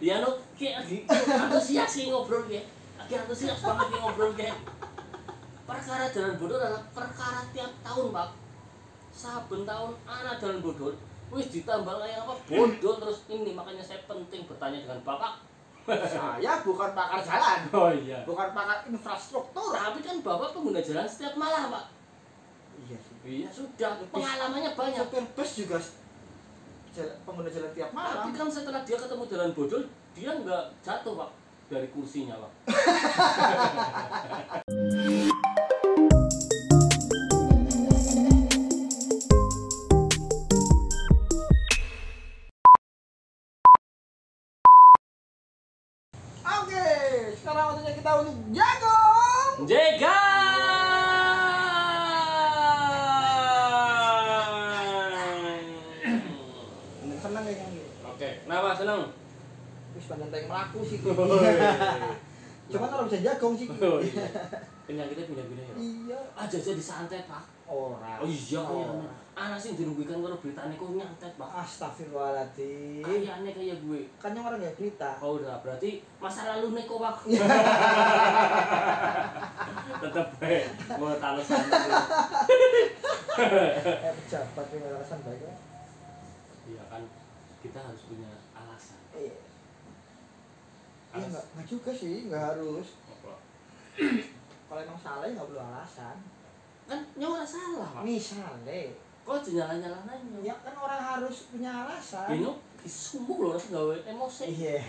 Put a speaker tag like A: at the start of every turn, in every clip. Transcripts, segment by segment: A: ya lu kayak lagi antusias sih ngobrol kayak lagi antusias banget nih ngobrol kayak perkara jalan bodoh adalah perkara tiap tahun pak saben tahun anak jalan bodoh wis ditambah lagi apa bodoh terus ini makanya saya penting bertanya dengan bapak
B: Saya bukan pakar jalan,
A: oh iya
B: bukan pakar infrastruktur.
A: tapi kan bapak pengguna jalan setiap malam pak
B: Iya sih.
A: iya sudah
B: Lebih-
A: pengalamannya banyak
B: Sopir bus juga s- jala- pengguna jalan tiap
A: tapi
B: malam.
A: kan setelah dia ketemu jalan bodoh dia nggak jatuh pak dari kursinya pak
B: Oke, sekarang waktunya kita untuk jagung.
A: Jega.
B: Bener seneng ya kan?
A: Oke, kenapa seneng?
B: Wis badan tayang melaku sih.
A: Woi.
B: Cuman orang bisa jagung sih.
A: Oh, iya. Penyakitnya pindah-pindah ya.
B: Iya.
A: Aja aja disantet pak. Oh
B: Orang.
A: iya,
B: Orang.
A: oh. anak sih dirugikan kalau beritanya kok nyantet pak.
B: Astagfirullahaladzim.
A: Kayaknya kayak gue.
B: Kan yang orang ya berita.
A: Oh udah, berarti masa lalu neko pak. Tetep baik, mau taruh santet.
B: Eh pejabat yang alasan baik. ya.
A: Iya kan, kita harus punya alasan.
B: Iya. Iya
A: Alas-
B: nggak nggak juga sih, nggak harus.
A: apa?
B: Kalau emang salah ya nggak perlu alasan.
A: Kan nyawa salah Iya. pak.
B: Misalnya,
A: kok dinyala-nyalanya
B: ya kan orang harus punya alasan.
A: Bino disumbuk loh harus gawe emosi
B: Iya.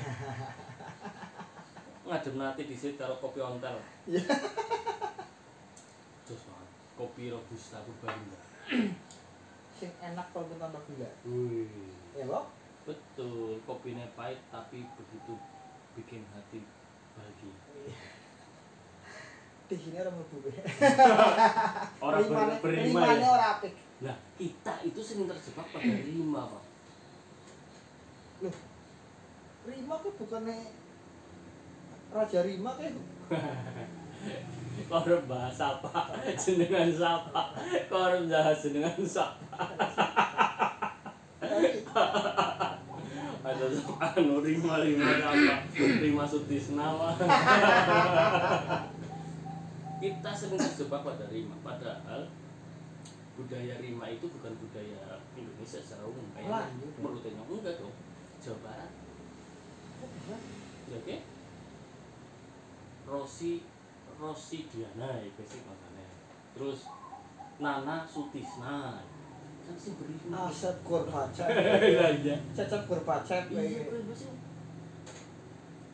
A: ngadem nanti di situ taruh kopi ontel
B: Iya.
A: terus banget kopi robusta aku bangga
B: Sing enak kalau bukan tambah gula.
A: Wih.
B: Ya kok?
A: betul kopinya pahit tapi begitu bikin hati bahagia
B: Di sini orang berbuka.
A: orang ber berima
B: Rimane
A: ya
B: orang apik.
A: nah kita itu sering terjebak pada lima pak
B: Rima kok bukannya Raja Rima kayak
A: Kau orang bahas apa? Jenengan siapa? Kau orang bahas jenengan siapa? Ada anu rima rima apa? Rima Sutisna Pak. Kita sering terjebak pada rima, padahal budaya rima itu bukan budaya Indonesia secara umum kayaknya.
B: Lah, iya dong.
A: Menurut Tengok enggak dong. Jawa Barat, ya oke? Rosi Rosi Diana ya basic makanya. Terus Nana Sutisna kan sih berima.
B: Asep Gorbachev.
A: Iya iya.
B: Cecep eh. Gorbachev.
A: Iya,
B: kayak.
A: berima sih.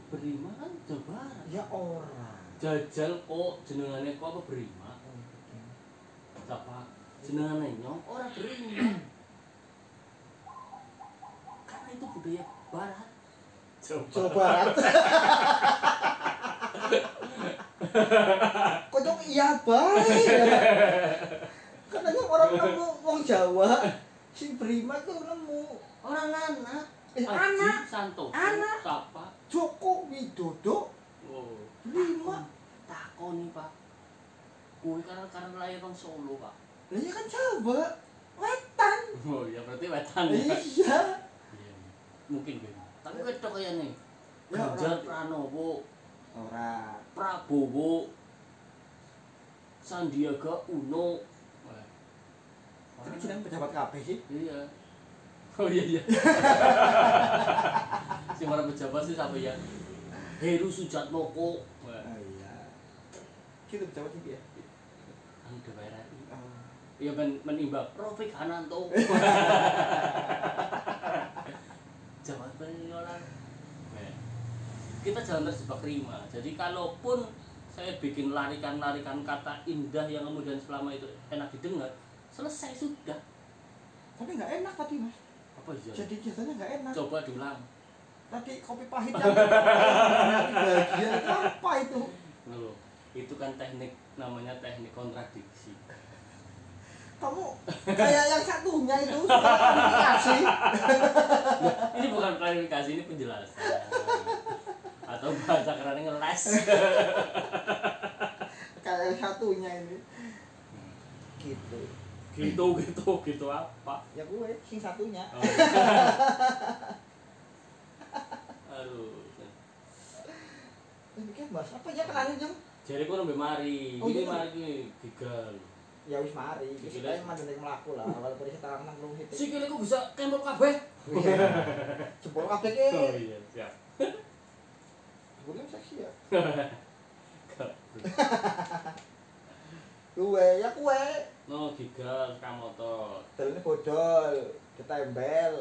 A: Berima kan Jawa Barat.
B: Ya orang.
A: Jajal kok jenengane kok apa berima? Siapa? Jenengane nyong ora berima. Karena itu budaya barat.
B: Jawa Barat. Kocok iya baik. Katanya orang nemu wong Jawa, si Brima tuh nemu
A: Orang anak, Aji
B: eh, anak
A: Santoso,
B: Anak.
A: Sapa.
B: Joko Widodo
A: Oh.
B: Brima.
A: Takoni, Pak. Kuwi karena karena lahir orang Solo, Pak.
B: Lah ya kan Jawa, wetan.
A: Oh, ya berarti wetan ya.
B: Iya.
A: Iya. Mungkin ben. Tapi wedok kayaknya.
B: Ya,
A: Ganjar
B: orang.
A: Pranowo,
B: Ora.
A: Prabowo Sandiaga Uno Wah.
B: Tapi jeneng pejabat kabeh sih.
A: iya oh iya iya si para pejabat sih siapa ya Heru Sujatmoko Wah.
B: Ah iya. Kita pejabat iki ya.
A: anu DPR RI
B: Ah.
A: iya men menimbang Rofik Hananto Jawa Penyolan Nah, kita jangan terjebak rima jadi kalaupun saya bikin larikan-larikan kata indah yang kemudian selama itu enak didengar selesai sudah
B: Tapi nggak enak tadi mas.
A: apa ya
B: Jadi biasanya nggak enak.
A: coba diulang
B: Tadi kopi pahit yang Nanti bahagia itu apa itu?
A: Loh, itu kan teknik namanya teknik kontradiksi
B: Kamu kayak yang satunya itu sekarang klarifikasi.
A: ini bukan klarifikasi ini penjelasan atau bahasa kerennya ngeles
B: Kayak yang satunya ini. Gitu.
A: gitu gitu gitu apa
B: Ya gue sing satunya.
A: aduh
B: mas apa ya kenalin yang
A: Jadi aku nambah mari,
B: Oh,
A: ini
B: iya.
A: mari ini gigal.
B: ya wis mari wis
A: Gila.
B: kayak mandan yang melaku lah awal dari sekarang nang rumit
A: Sikil aku bisa kempel kabeh.
B: jempol kabeh ke
A: Oh iya, siap.
B: jempolnya seksi ya
A: Gak.
B: kue ya kue
A: No gigal kamoto.
B: jalannya bodol ketembel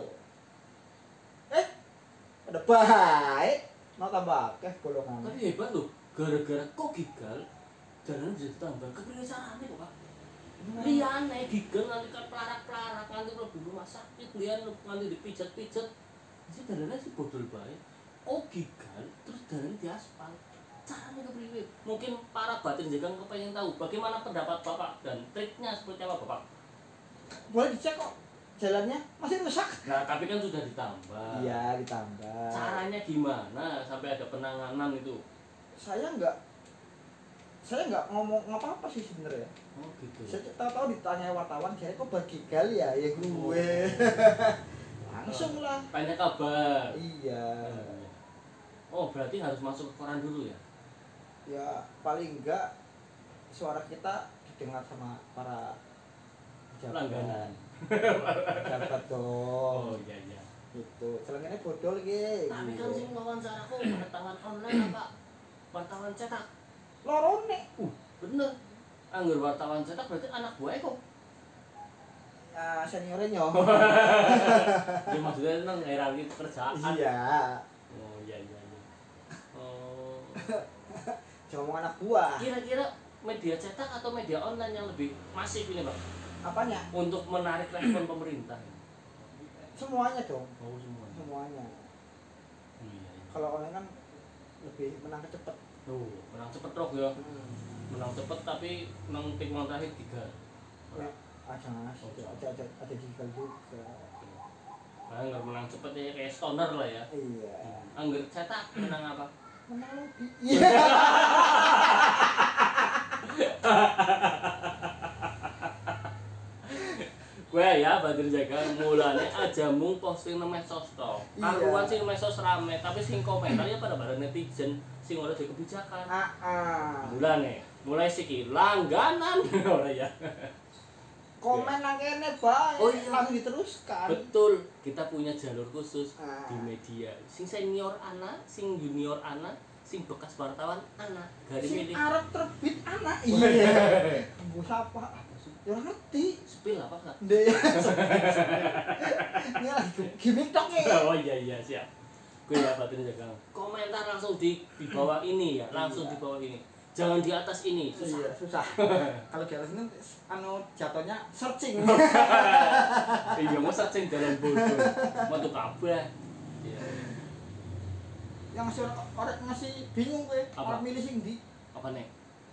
B: eh ada baik mau tambah akeh golongan
A: Tapi hebat loh, gara-gara kok gigal jalan bisa tambah kepikiran sarane kok, Pak. Liane gigal nanti kan pelarak-pelarak nanti kalau rumah sakit liane nanti dipijat-pijat. Jadi dalane sih bodol bae. Oh gigal terus dalane di aspal. Caranya kepriwe? Mungkin para batin jegang kepengen tahu bagaimana pendapat Bapak dan triknya seperti apa Bapak?
B: boleh dicek kok jalannya masih rusak
A: Nah, tapi kan sudah ditambah.
B: iya ditambah
A: Caranya gimana sampai ada penanganan itu?
B: saya nggak saya nggak ngomong apa apa sih sebenarnya
A: Oh gitu.
B: saya tahu-tahu ditanya wartawan saya kok bagi gal ya ya gue langsung lah
A: Tanya kabar.
B: iya
A: Oh, berarti harus masuk ke koran dulu ya?
B: ya paling enggak suara kita didengar sama para pejabat
A: Langganan.
B: pejabat dong
A: iya iya.
B: gitu celengannya bodol ge
A: Tapi kan sing wawancara kok wartawan online apa? Wartawan cetak.
B: lorone
A: Bener. Anggur wartawan cetak berarti anak buah kok.
B: ya seniornya nyo
A: Ya maksudnya nang hierarki pekerjaan.
B: iya
A: Oh iya iya iya. Oh.
B: jangan ngomong anak buah
A: Kira-kira media cetak atau media online yang lebih masif ini, Pak?
B: apanya
A: Untuk menarik respon pemerintah.
B: semuanya dong
A: Oh semuanya.
B: semuanya
A: Oh, iya, iya.
B: kalau online kan lebih menang cepet
A: Tuh, menang cepet rock ya.
B: hmm.
A: Menang cepet tapi nang tik terakhir tiga.
B: Ya, aja mas
A: Oh,
B: ada ada ada juga juga
A: Nah, nggak menang cepet ya kayak stoner lah ya.
B: iya
A: Angger cetak menang apa?
B: menang lagi iya
A: Gue ya Badir Jaga mulane aja mung posting nang medsos to.
B: Iya.
A: Karuan sing medsos rame tapi sing komentar ya pada pada netizen sing ora di kebijakan.
B: ah ah.
A: Mulane mulai siki langganan ora ya.
B: komen nang kene bae
A: Oh, iya.
B: langsung diteruskan
A: Betul, kita punya jalur khusus
B: Ah.
A: di media. Sing senior ana, sing junior ana, sing bekas wartawan ana, gari
B: si
A: milih.
B: Arab terbit anak iya bu siapa ya orang ngerti
A: Spill apa enggak?
B: deh ini lagi ke- gimmick dong ya
A: Oh iya iya siap. Gue ya batin jaga. Komentar langsung di di bawah ini ya, langsung
B: Iya.
A: di bawah ini. Jangan di atas ini, susah.
B: iya susah kalau di atas ini anu jatuhnya searching
A: iya mau searching jalan bodoh mau tuh kabeh Iya.
B: yang masih orang masih bingung gue
A: Apa?
B: orang milih sing di
A: apa nih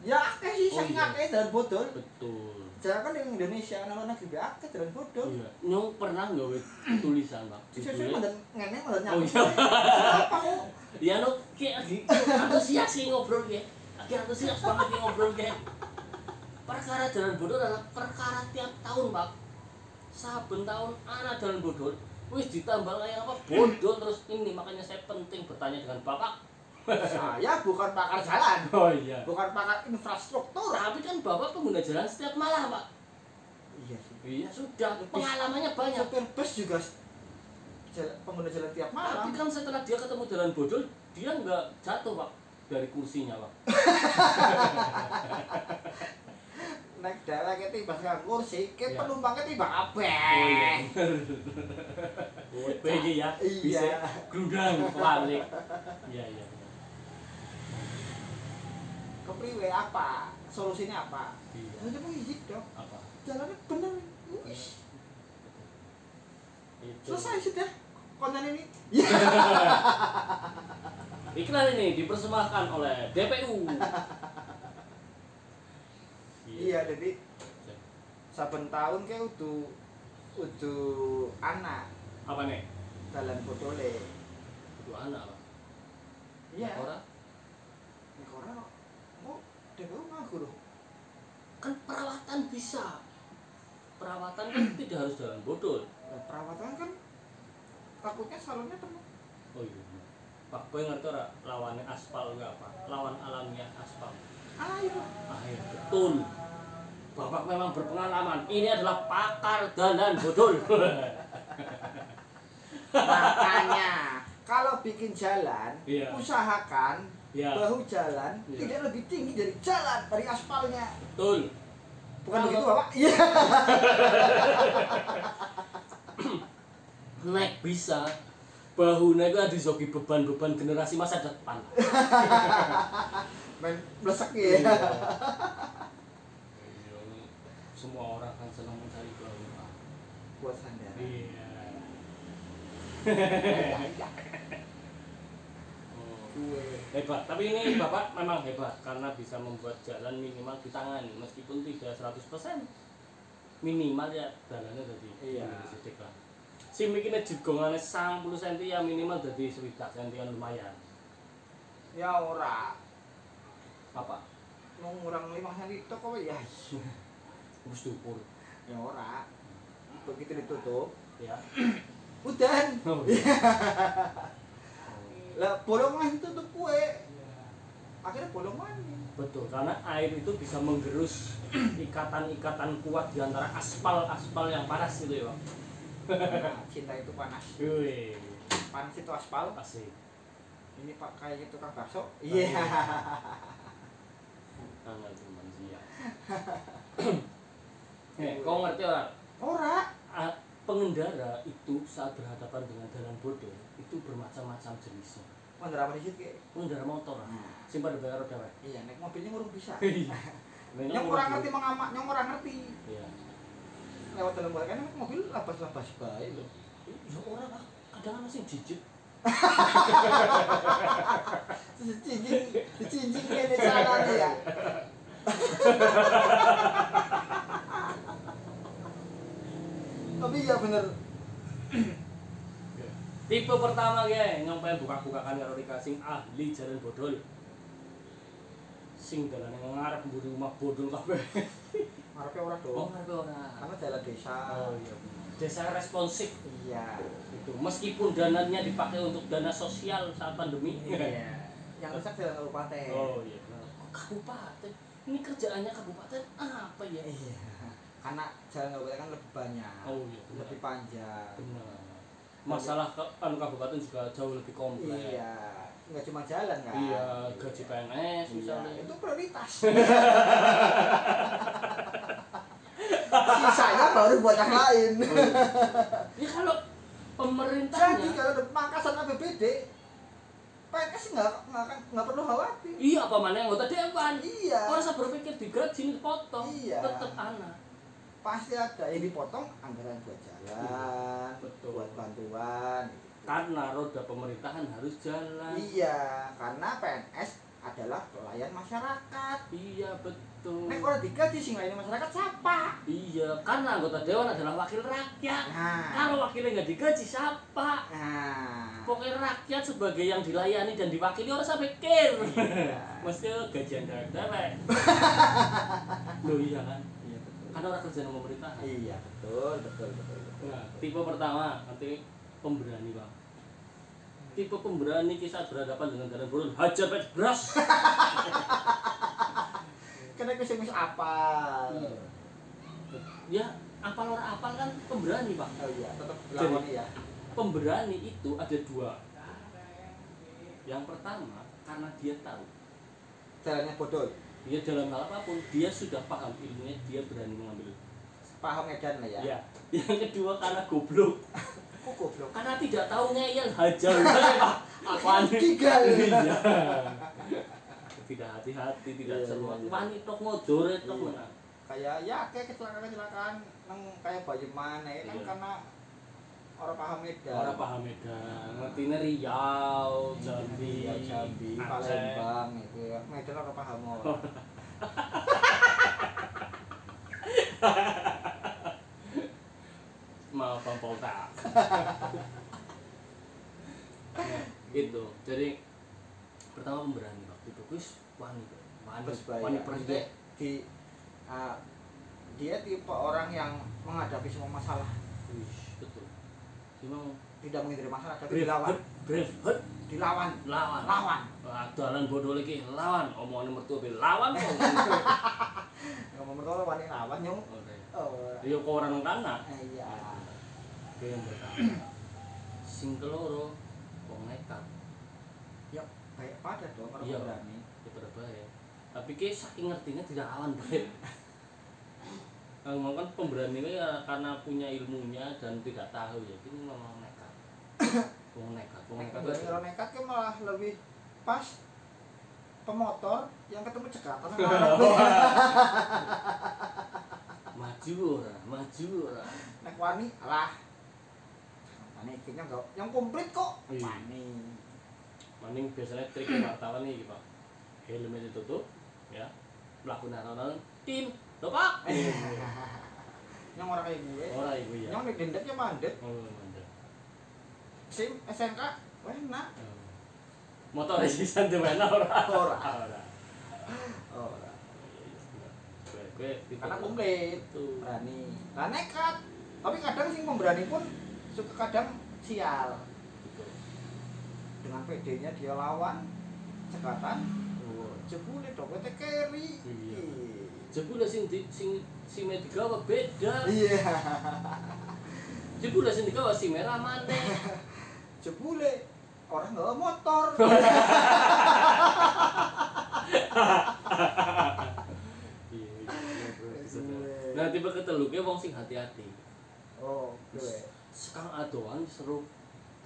B: ya akeh sih
A: Oh,
B: saking
A: iya.
B: akeh dalam bodol
A: betul
B: jangan kan yang Indonesia anak-anak negeri be akeh dalam bodol
A: iya nyong pernah nggak wit tulisan pak
B: Cucu-cucu
A: Judulnya-
B: mandan ngene mandan
A: Oh,
B: nyapu.
A: iya.
B: Apa kok?
A: ya lo kayak lagi antusias sih ngobrol kayak lagi antusias banget nih ngobrol kayak perkara jalan bodoh adalah perkara tiap tahun pak saben tahun anak jalan bodoh wis ditambah kayak apa bodoh terus ini makanya saya penting bertanya dengan bapak
B: Saya bukan pakar jalan,
A: oh iya
B: bukan pakar infrastruktur.
A: tapi kan bapak pengguna jalan setiap malam pak
B: Iya sih.
A: iya sudah pengalamannya banyak
B: Sopir bus juga s- jala- pengguna jalan tiap
A: Tapi
B: malam.
A: kan setelah dia ketemu jalan bodol, dia nggak jatuh pak dari kursinya pak.
B: Naik daerah ke tiba sekarang kursi, ke
A: Iya.
B: penumpangnya tiba
A: iya.
B: kabeh.
A: Bagi ya, bisa
B: Iya.
A: gerudang balik. Iya iya.
B: Kepriwe apa? Solusinya apa?
A: Iya.
B: Nanti mau izin dong.
A: Apa?
B: Jalannya bener.
A: Iya.
B: Wis.
A: Itu.
B: Selesai sudah konten ini.
A: Iklan ini dipersembahkan oleh DPU.
B: Iya, jadi saben tahun kayak udah udah anak
A: Apa nih?
B: dalam botole.
A: Itu anak pak.
B: Iya.
A: Orang
B: Nek ora kok dewe ngaku lho.
A: kan perawatan bisa. Perawatan kan tidak harus
B: Nah,
A: jalan bodol.
B: Lah perawatan kan takutnya salonnya penuh.
A: Oh iya. Pak Boy ngerti ora lawannya aspal itu apa? Lawan alamnya aspal.
B: Ayo.
A: Air betul. Bapak memang berpengalaman. Ini adalah pakar dalan bodol.
B: Makanya kalau bikin jalan,
A: Iya.
B: usahakan
A: ya,
B: bahu jalan
A: Iya.
B: tidak lebih tinggi dari jalan dari aspalnya.
A: betul.
B: Bukan
A: Kalau-
B: begitu, Bapak? Iya.
A: Naik bisa. Bahu naik itu ada joki beban-beban generasi masa depan.
B: Main blesak ya.
A: Iya. Iya, Semua orang kan senang mencari bahu. Pak.
B: Buat sandaran.
A: Iya. Oh.
B: Iya.
A: hebat tapi ini bapak memang hebat karena bisa membuat jalan minimal di tangan meskipun tidak 100% minimal ya jalannya dari
B: Iya.
A: sedikit lah si mikirnya jegongannya 10 cm ya minimal dari sekitar cm kan lumayan
B: Ya ora.
A: apa
B: Nung kurang 5 cm kok ya.
A: harus diukur
B: Ya ora. Begitu ditutup,
A: ya
B: udan.
A: Oh, iya.
B: Lah bolongan tutup kue.
A: Iya.
B: Akhirnya bolongan.
A: betul karena air itu bisa menggerus ikatan-ikatan kuat di antara aspal-aspal yang panas itu ya Pak.
B: Nah, Cinta itu panas.
A: Wih,
B: Panas itu aspal.
A: asik.
B: Ini pakai kayak tukang bakso.
A: Iya.
B: Iya.
A: Tanggal cuman siap. Eh, kau ngerti orang?
B: Ora.
A: A- pengendara itu saat berhadapan dengan jalan bodoh itu bermacam-macam jenisnya.
B: Mandra apa dikit kayak.
A: Pengendara motor, ah. sing pada bayar dewek.
B: Iya, naik mobilnya ngurung bisa.
A: Hmm. Iya.
B: Yang kurang ngerti mengamak, yang kurang ngerti
A: Iya.
B: lewat dalam barang kan naik mobil labas-labas bae lho.
A: Ya orang Pak. kadang masih jijik.
B: Terus cincin, cincin kene jalan ya. Tapi ya bener.
A: Tipe pertama ya, ngapain buka-bukaan karo Rika sing ahli jalan bodol. Sing dalane ngarep mburi omah bodol kabeh.
B: Ngarepe ora
A: Oh,
B: dong.
A: ngarep ora.
B: Karena jalan desa.
A: Oh iya. Desa responsif
B: Iya.
A: itu Gitu. meskipun dananya dipakai untuk dana sosial saat pandemi
B: Iya. Yang rusak jalan kabupaten.
A: oh iya Kok kabupaten ini kerjaannya kabupaten apa ya
B: Iya. Karena jalan kabupaten kan lebih banyak.
A: oh iya benar
B: Lebih panjang.
A: benar masalah ke, anu kabupaten juga jauh lebih kompleks
B: Iya, nggak cuma jalan kan?
A: Iya, gaji PNS
B: Iya,
A: misalnya
B: itu prioritas. Sisanya baru buat yang lain.
A: Oh, ya kalau
B: Jadi kan-
A: pemerintahnya
B: kalau ada pangkasan APBD, PNS nggak nggak akan- nggak perlu khawatir.
A: iya apa mana yang anggota dewan
B: Iya,
A: orang saya berpikir di gaji dipotong
B: Iya.
A: tetap anak
B: pasti ada yang dipotong anggaran buat jalan,
A: Iya, Betul.
B: buat bantuan. gitu.
A: karena roda pemerintahan harus jalan
B: Iya, karena PNS adalah pelayan masyarakat.
A: iya betul
B: Nek orang digaji sing lain masyarakat siapa?
A: iya karena anggota dewan adalah wakil rakyat
B: Nah,
A: Kalau wakilnya nggak digaji siapa?
B: nah.
A: Pokoknya rakyat sebagai yang dilayani dan diwakili orang saya pikir.
B: Iya.
A: Mesti gajian dari dewek. Loh iya kan?
B: Iya betul.
A: Karena orang kerja sama pemerintahan.
B: Iya betul betul betul. betul.
A: Nah, tipe pertama nanti pemberani bang. Tipe pemberani kisah berhadapan dengan jalan burun hajar pet beras.
B: Karena aku sing wis apa?
A: Iya. ya apal orang apal kan pemberani pak.
B: Oh iya, tetap lawan ya.
A: Pemberani itu ada dua. Yang pertama karena dia tahu
B: Jalannya bodoh.
A: dia Ya, dalam hal apapun dia sudah paham ilmunya dia berani mengambil
B: Paham edan lah ya.
A: ya yang kedua karena goblok
B: Kok goblok.
A: karena tidak tahu ngeyel hajar wae, Pak. apaan
B: Tiga.
A: Iya. tidak hati-hati tidak
B: Iya,
A: cermat
B: iya.
A: wani tok ngodore tok
B: Iya.
A: menang.
B: Kayak ya kayak kecelakaan-kecelakaan nang kayak bayi mana ya kan
A: Iya.
B: karena orang paham edan.
A: orang paham medan ngertine Riau Jambi
B: Iya, Jambi,
A: Aceh.
B: Palembang itu ya. Medan orang paham orang.
A: maaf Bang Polta. gitu jadi pertama pemberani waktu itu wis wani Pak. wani
B: Terus bayar.
A: wani
B: Maksudnya
A: pergi
B: di ah, dia tipe orang yang menghadapi semua masalah
A: Wih, betul. Gimana?
B: tidak menghindari masalah tapi dilawan
A: Brave heart.
B: dilawan
A: lawan
B: lawan
A: Wah, dalan bodol iki lawan omongane mertua be lawan kok
C: ngomong mertua lawan yang lawan nyong oh
A: yo Iya, kok ora nang tanah
C: eh, iya
A: Dia yang pertama sing keloro wong nekat
B: baik pada dong kalau
A: Iya.
B: berani
A: ya pada baik tapi ki saking ngertinya tidak awan baik Kang Mang kan pemberani ini ya karena punya ilmunya dan tidak tahu ya ini memang nekat wong nekat wong
B: Nek
A: nekat
B: berani
A: itu-
B: kalau nekat kan malah lebih pas pemotor yang ketemu cekatan sama
A: maju ora maju ora
B: nek wani lah wani kayaknya enggak yang komplit kok
A: Iya.
B: wani
A: mending biasanya trik wartawan nih Pak helmnya ditutup ya pelaku naronan tim lho pak
B: Iya. yang orang kayak gue
A: ora ibu ya
B: yang nek dendetnya mandet
A: oh mantap
B: sim SNK enak
A: Oh. motor resisan di mana ora
B: Ora.
A: ora
B: oh
A: Iya, Gue- gue tipe-
B: karena komplit
A: Itu.
B: berani lah nekat tapi kadang sing pemberani pun suka kadang sial
A: Betul.
B: dengan PD-nya dia lawan cekatan
A: Oh.
B: jebule dompetnya carry
A: Iya. Jebule sing di, sing sing me digawa beda.
B: iya
A: Jebule sing digawa si merah maneh.
B: jebule orang nggak bawa motor
A: Iya, iya, iya. Nah, tipe ketelu ke wong sing hati-hati.
B: oh gue
A: Sekang adoan seru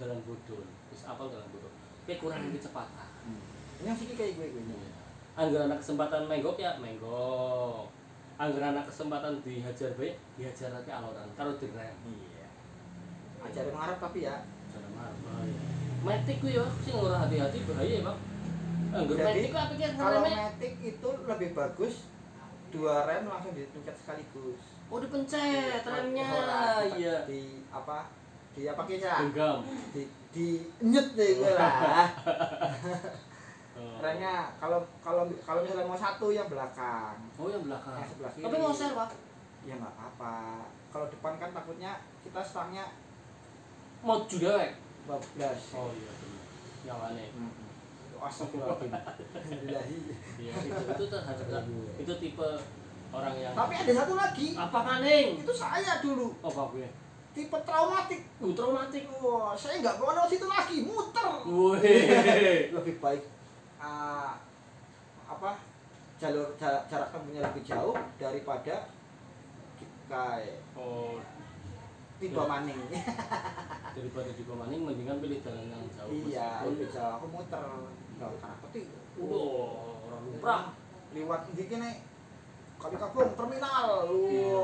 A: dalam bodol. Wis apal dalam bodol. Kayak
B: Hmm.
A: kurang kecepatan.
B: yang sini kayak gue gue nih
A: Angger anak kesempatan menggok ya menggok. Angger anak kesempatan dihajar baik, dihajar nanti aloran. Taruh di rem.
B: iya ajarin ngarep tapi ya
A: Jangan marah, bahaya.
B: iya.
A: Metik ku ya, sing ora hati-hati bahaya, Pak. Angger
B: Jadi,
A: metik ku ya, apa ki
B: kalau
A: ngeremnya?
B: matic itu lebih bagus dua rem langsung dipencet sekaligus
A: Oh
B: Iya,
A: dipencet remnya.
B: Orang
A: Iya.
B: di apa di apa kisah
A: Genggam.
B: di di nyet deh gue lah remnya kalau kalau kalau misalnya mau satu yang belakang
A: Oh yang belakang.
B: yang sebelah kiri
A: Tapi mau share, Pak.
B: ya nggak apa-apa kalau depan kan takutnya kita stangnya
A: Mau juga, Pak.
B: 12
A: Oh iya benar. Yang aneh.
B: Mm-mm. Astagfirullahaladzim Alhamdulillahi.
A: Iya, itu itu tuh harus itu tipe orang yang
B: Tapi ada satu lagi
A: apa maning?
B: Itu saya dulu
A: Oh, Pak gue.
B: Tipe traumatik
A: Uh, traumatik.
B: Wah, saya nggak mau lewat situ lagi Muter
A: Woi.
B: Lebih baik ah, Apa Jalur jarak, jarak tempuhnya lebih jauh Daripada Kita
A: Oh,
B: Tiba maning
A: daripada di pemaning mendingan pilih jalan yang jauh.
B: Iya
A: meskipun-
B: Lebih jauh Iya. Aku muter Nggak karena peti
A: Wow, orang lumrah.
B: Oh, Lewat di kene Kali kabung terminal Iya.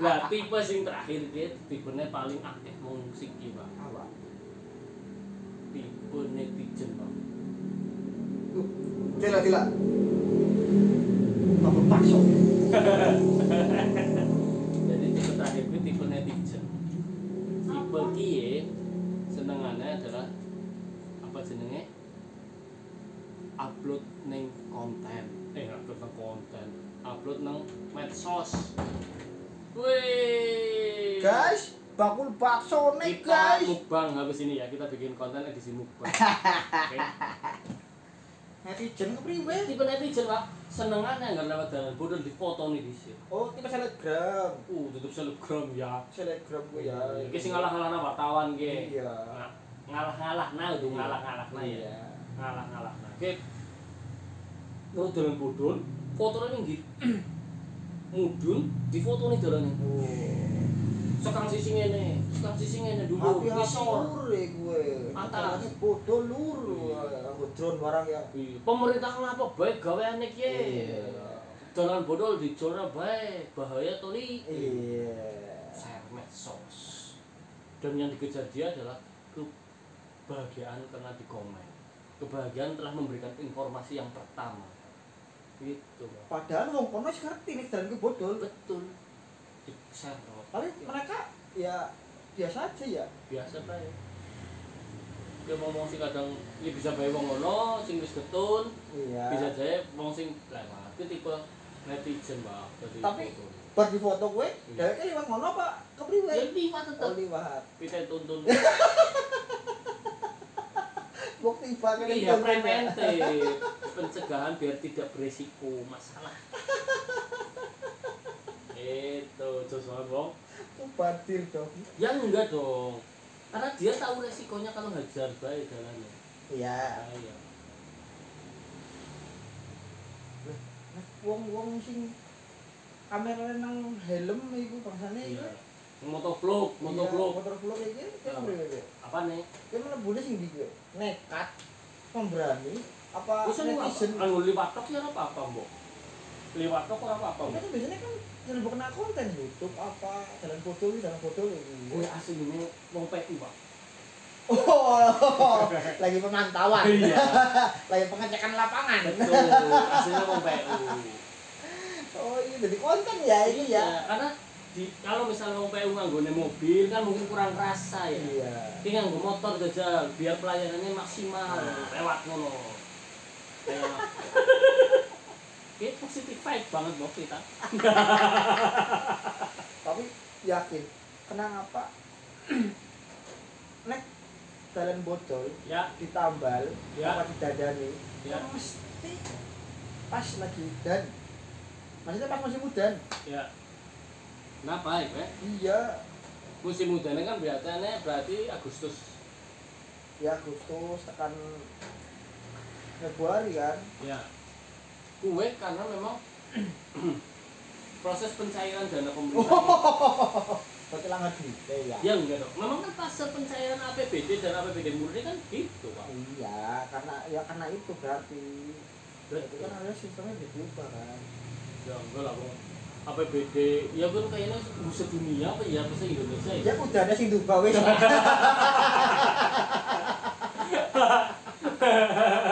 B: Wah
A: Nah, tipe sing terakhir dia tipenya paling akeh mau musik iki, Pak.
B: Apa?
A: Tipe netizen, Pak.
B: Tidak, tidak. Apa bakso?
A: Jadi tipe terakhir itu tipe netizen. Tipe kiye senengannya adalah apa jenenge? Upload neng konten. Eh, upload neng konten. Upload neng medsos. Wih.
B: Guys, bakul bakso nih
A: kita
B: guys.
A: mukbang habis ini ya kita bikin konten edisi mukbang. Oke.
B: Netizen kepriwe?
A: tipe netizen pak senengannya nggak lewat jalan bodol difoto nih di sini
B: Oh, tipe selebgram.
A: uh tutup selebgram ya
B: Selebgram gue ya.
A: Iki sing ngalah-ngalahna wartawan ge.
B: Iya.
A: Nga- Ngalah-ngalahna itu ngalah-ngalahna ya.
B: Iya.
A: Ngalah-ngalahna. Ge. Lu dalan bodol, fotone ning ndi? Mudun difotone dalane. Sekang sisi ngene, sekang sisi ngene dulu
B: Tapi hati
A: ngisor.
B: lur ya gue.
A: Atas.
B: Atas. Bodoh lur. Anggo drone barang ya.
A: Iya. Pemerintah ngapa baik gaweane iki?
B: Iya.
A: Dalan bodol dijolna baik, bahaya to li.
B: Iya.
A: Share medsos. Dan yang dikejar dia adalah kebahagiaan karena dikomen. Kebahagiaan telah memberikan informasi yang pertama. Gitu. Bang.
B: Padahal wong kono wis ngerti nih dan gue bodoh.
A: Betul. Di share Bang.
B: Tapi mereka ya biasa aja ya.
A: biasa bae. Dia ngomong sih kadang ya bisa bae wong ngono, sing wis ketun,
B: Iya.
A: bisa jae wong sing lewat. Itu tipe netizen, Bang. Jadi
B: Tapi-
A: foto.
B: bar di foto gue
D: Iya.
B: dari kan lewat ngono apa kepriwe
A: ya liwat tetep
B: oh liwat
A: kita tuntun
B: bukti tiba kan
A: iya preventif pencegahan biar tidak beresiko masalah itu jos banget Gitu, bong
B: badir dong
A: ya enggak dong karena dia tahu resikonya kalau hajar baik jalannya Ah,
B: iya
A: Bahaya.
B: wong wong sing kamera nang helm iku bangsane
A: iya Ah.
B: iku
A: motovlog
B: Iya.
A: motovlog
B: motor vlog iki
A: Iya.
B: kan priwe
A: apa nih
B: Dia melebulnya sing di gue nekat pemberani apa
A: Terus lu
B: netizen
A: apa? Anu liwat tok ya apa apa, Mbok? Liwat tok ora apa apa,
B: Mereka
A: Mbok?
B: tuh biasanya kan nyelebok kena konten YouTube apa jalan foto jalan foto gitu.
A: Gue Iya, aslinya mau PU, Pak.
B: Oh, lagi pemantauan,
A: Iya,
B: lagi pengecekan lapangan.
A: betul. Aslinya mau PU.
B: Oh iya, jadi konten ya ini ya.
A: karena di, kalau misalnya mau PU nganggone mobil kan mungkin kurang rasa ya.
B: Iya.
A: Ini nganggo motor jajal biar pelayanannya maksimal. Lewat ngono. Lewat. Ini positif vibe banget, Mbok, kita.
B: Tapi yakin, kenang apa? Nek jalan bocor
A: Ya,
B: ditambal
A: Ya.
B: apa didadani
A: ya,
B: kan mesti pas lagi dan maksudnya pas masih muda
A: ya. Kenapa, ya, Pak?
B: iya
A: Musim mudanya kan biasanya berarti Agustus.
B: ya Agustus tekan Februari kan
A: Ya. Kue karena memang proses pencairan dana pemerintah.
B: Hohohoho. berarti langgar di ya
A: Ya enggak dong. Memang kan fase pencairan APBD dan APBD murni kan gitu, Pak.
B: iya karena ya karena itu berarti berarti kan ada sistemnya udah diubah kan
A: Ya enggak lah, Bang. APBD ya kan kayaknya buset dunia apa ya bahasa Indonesia ya.
B: ya udah ada sih diubah wes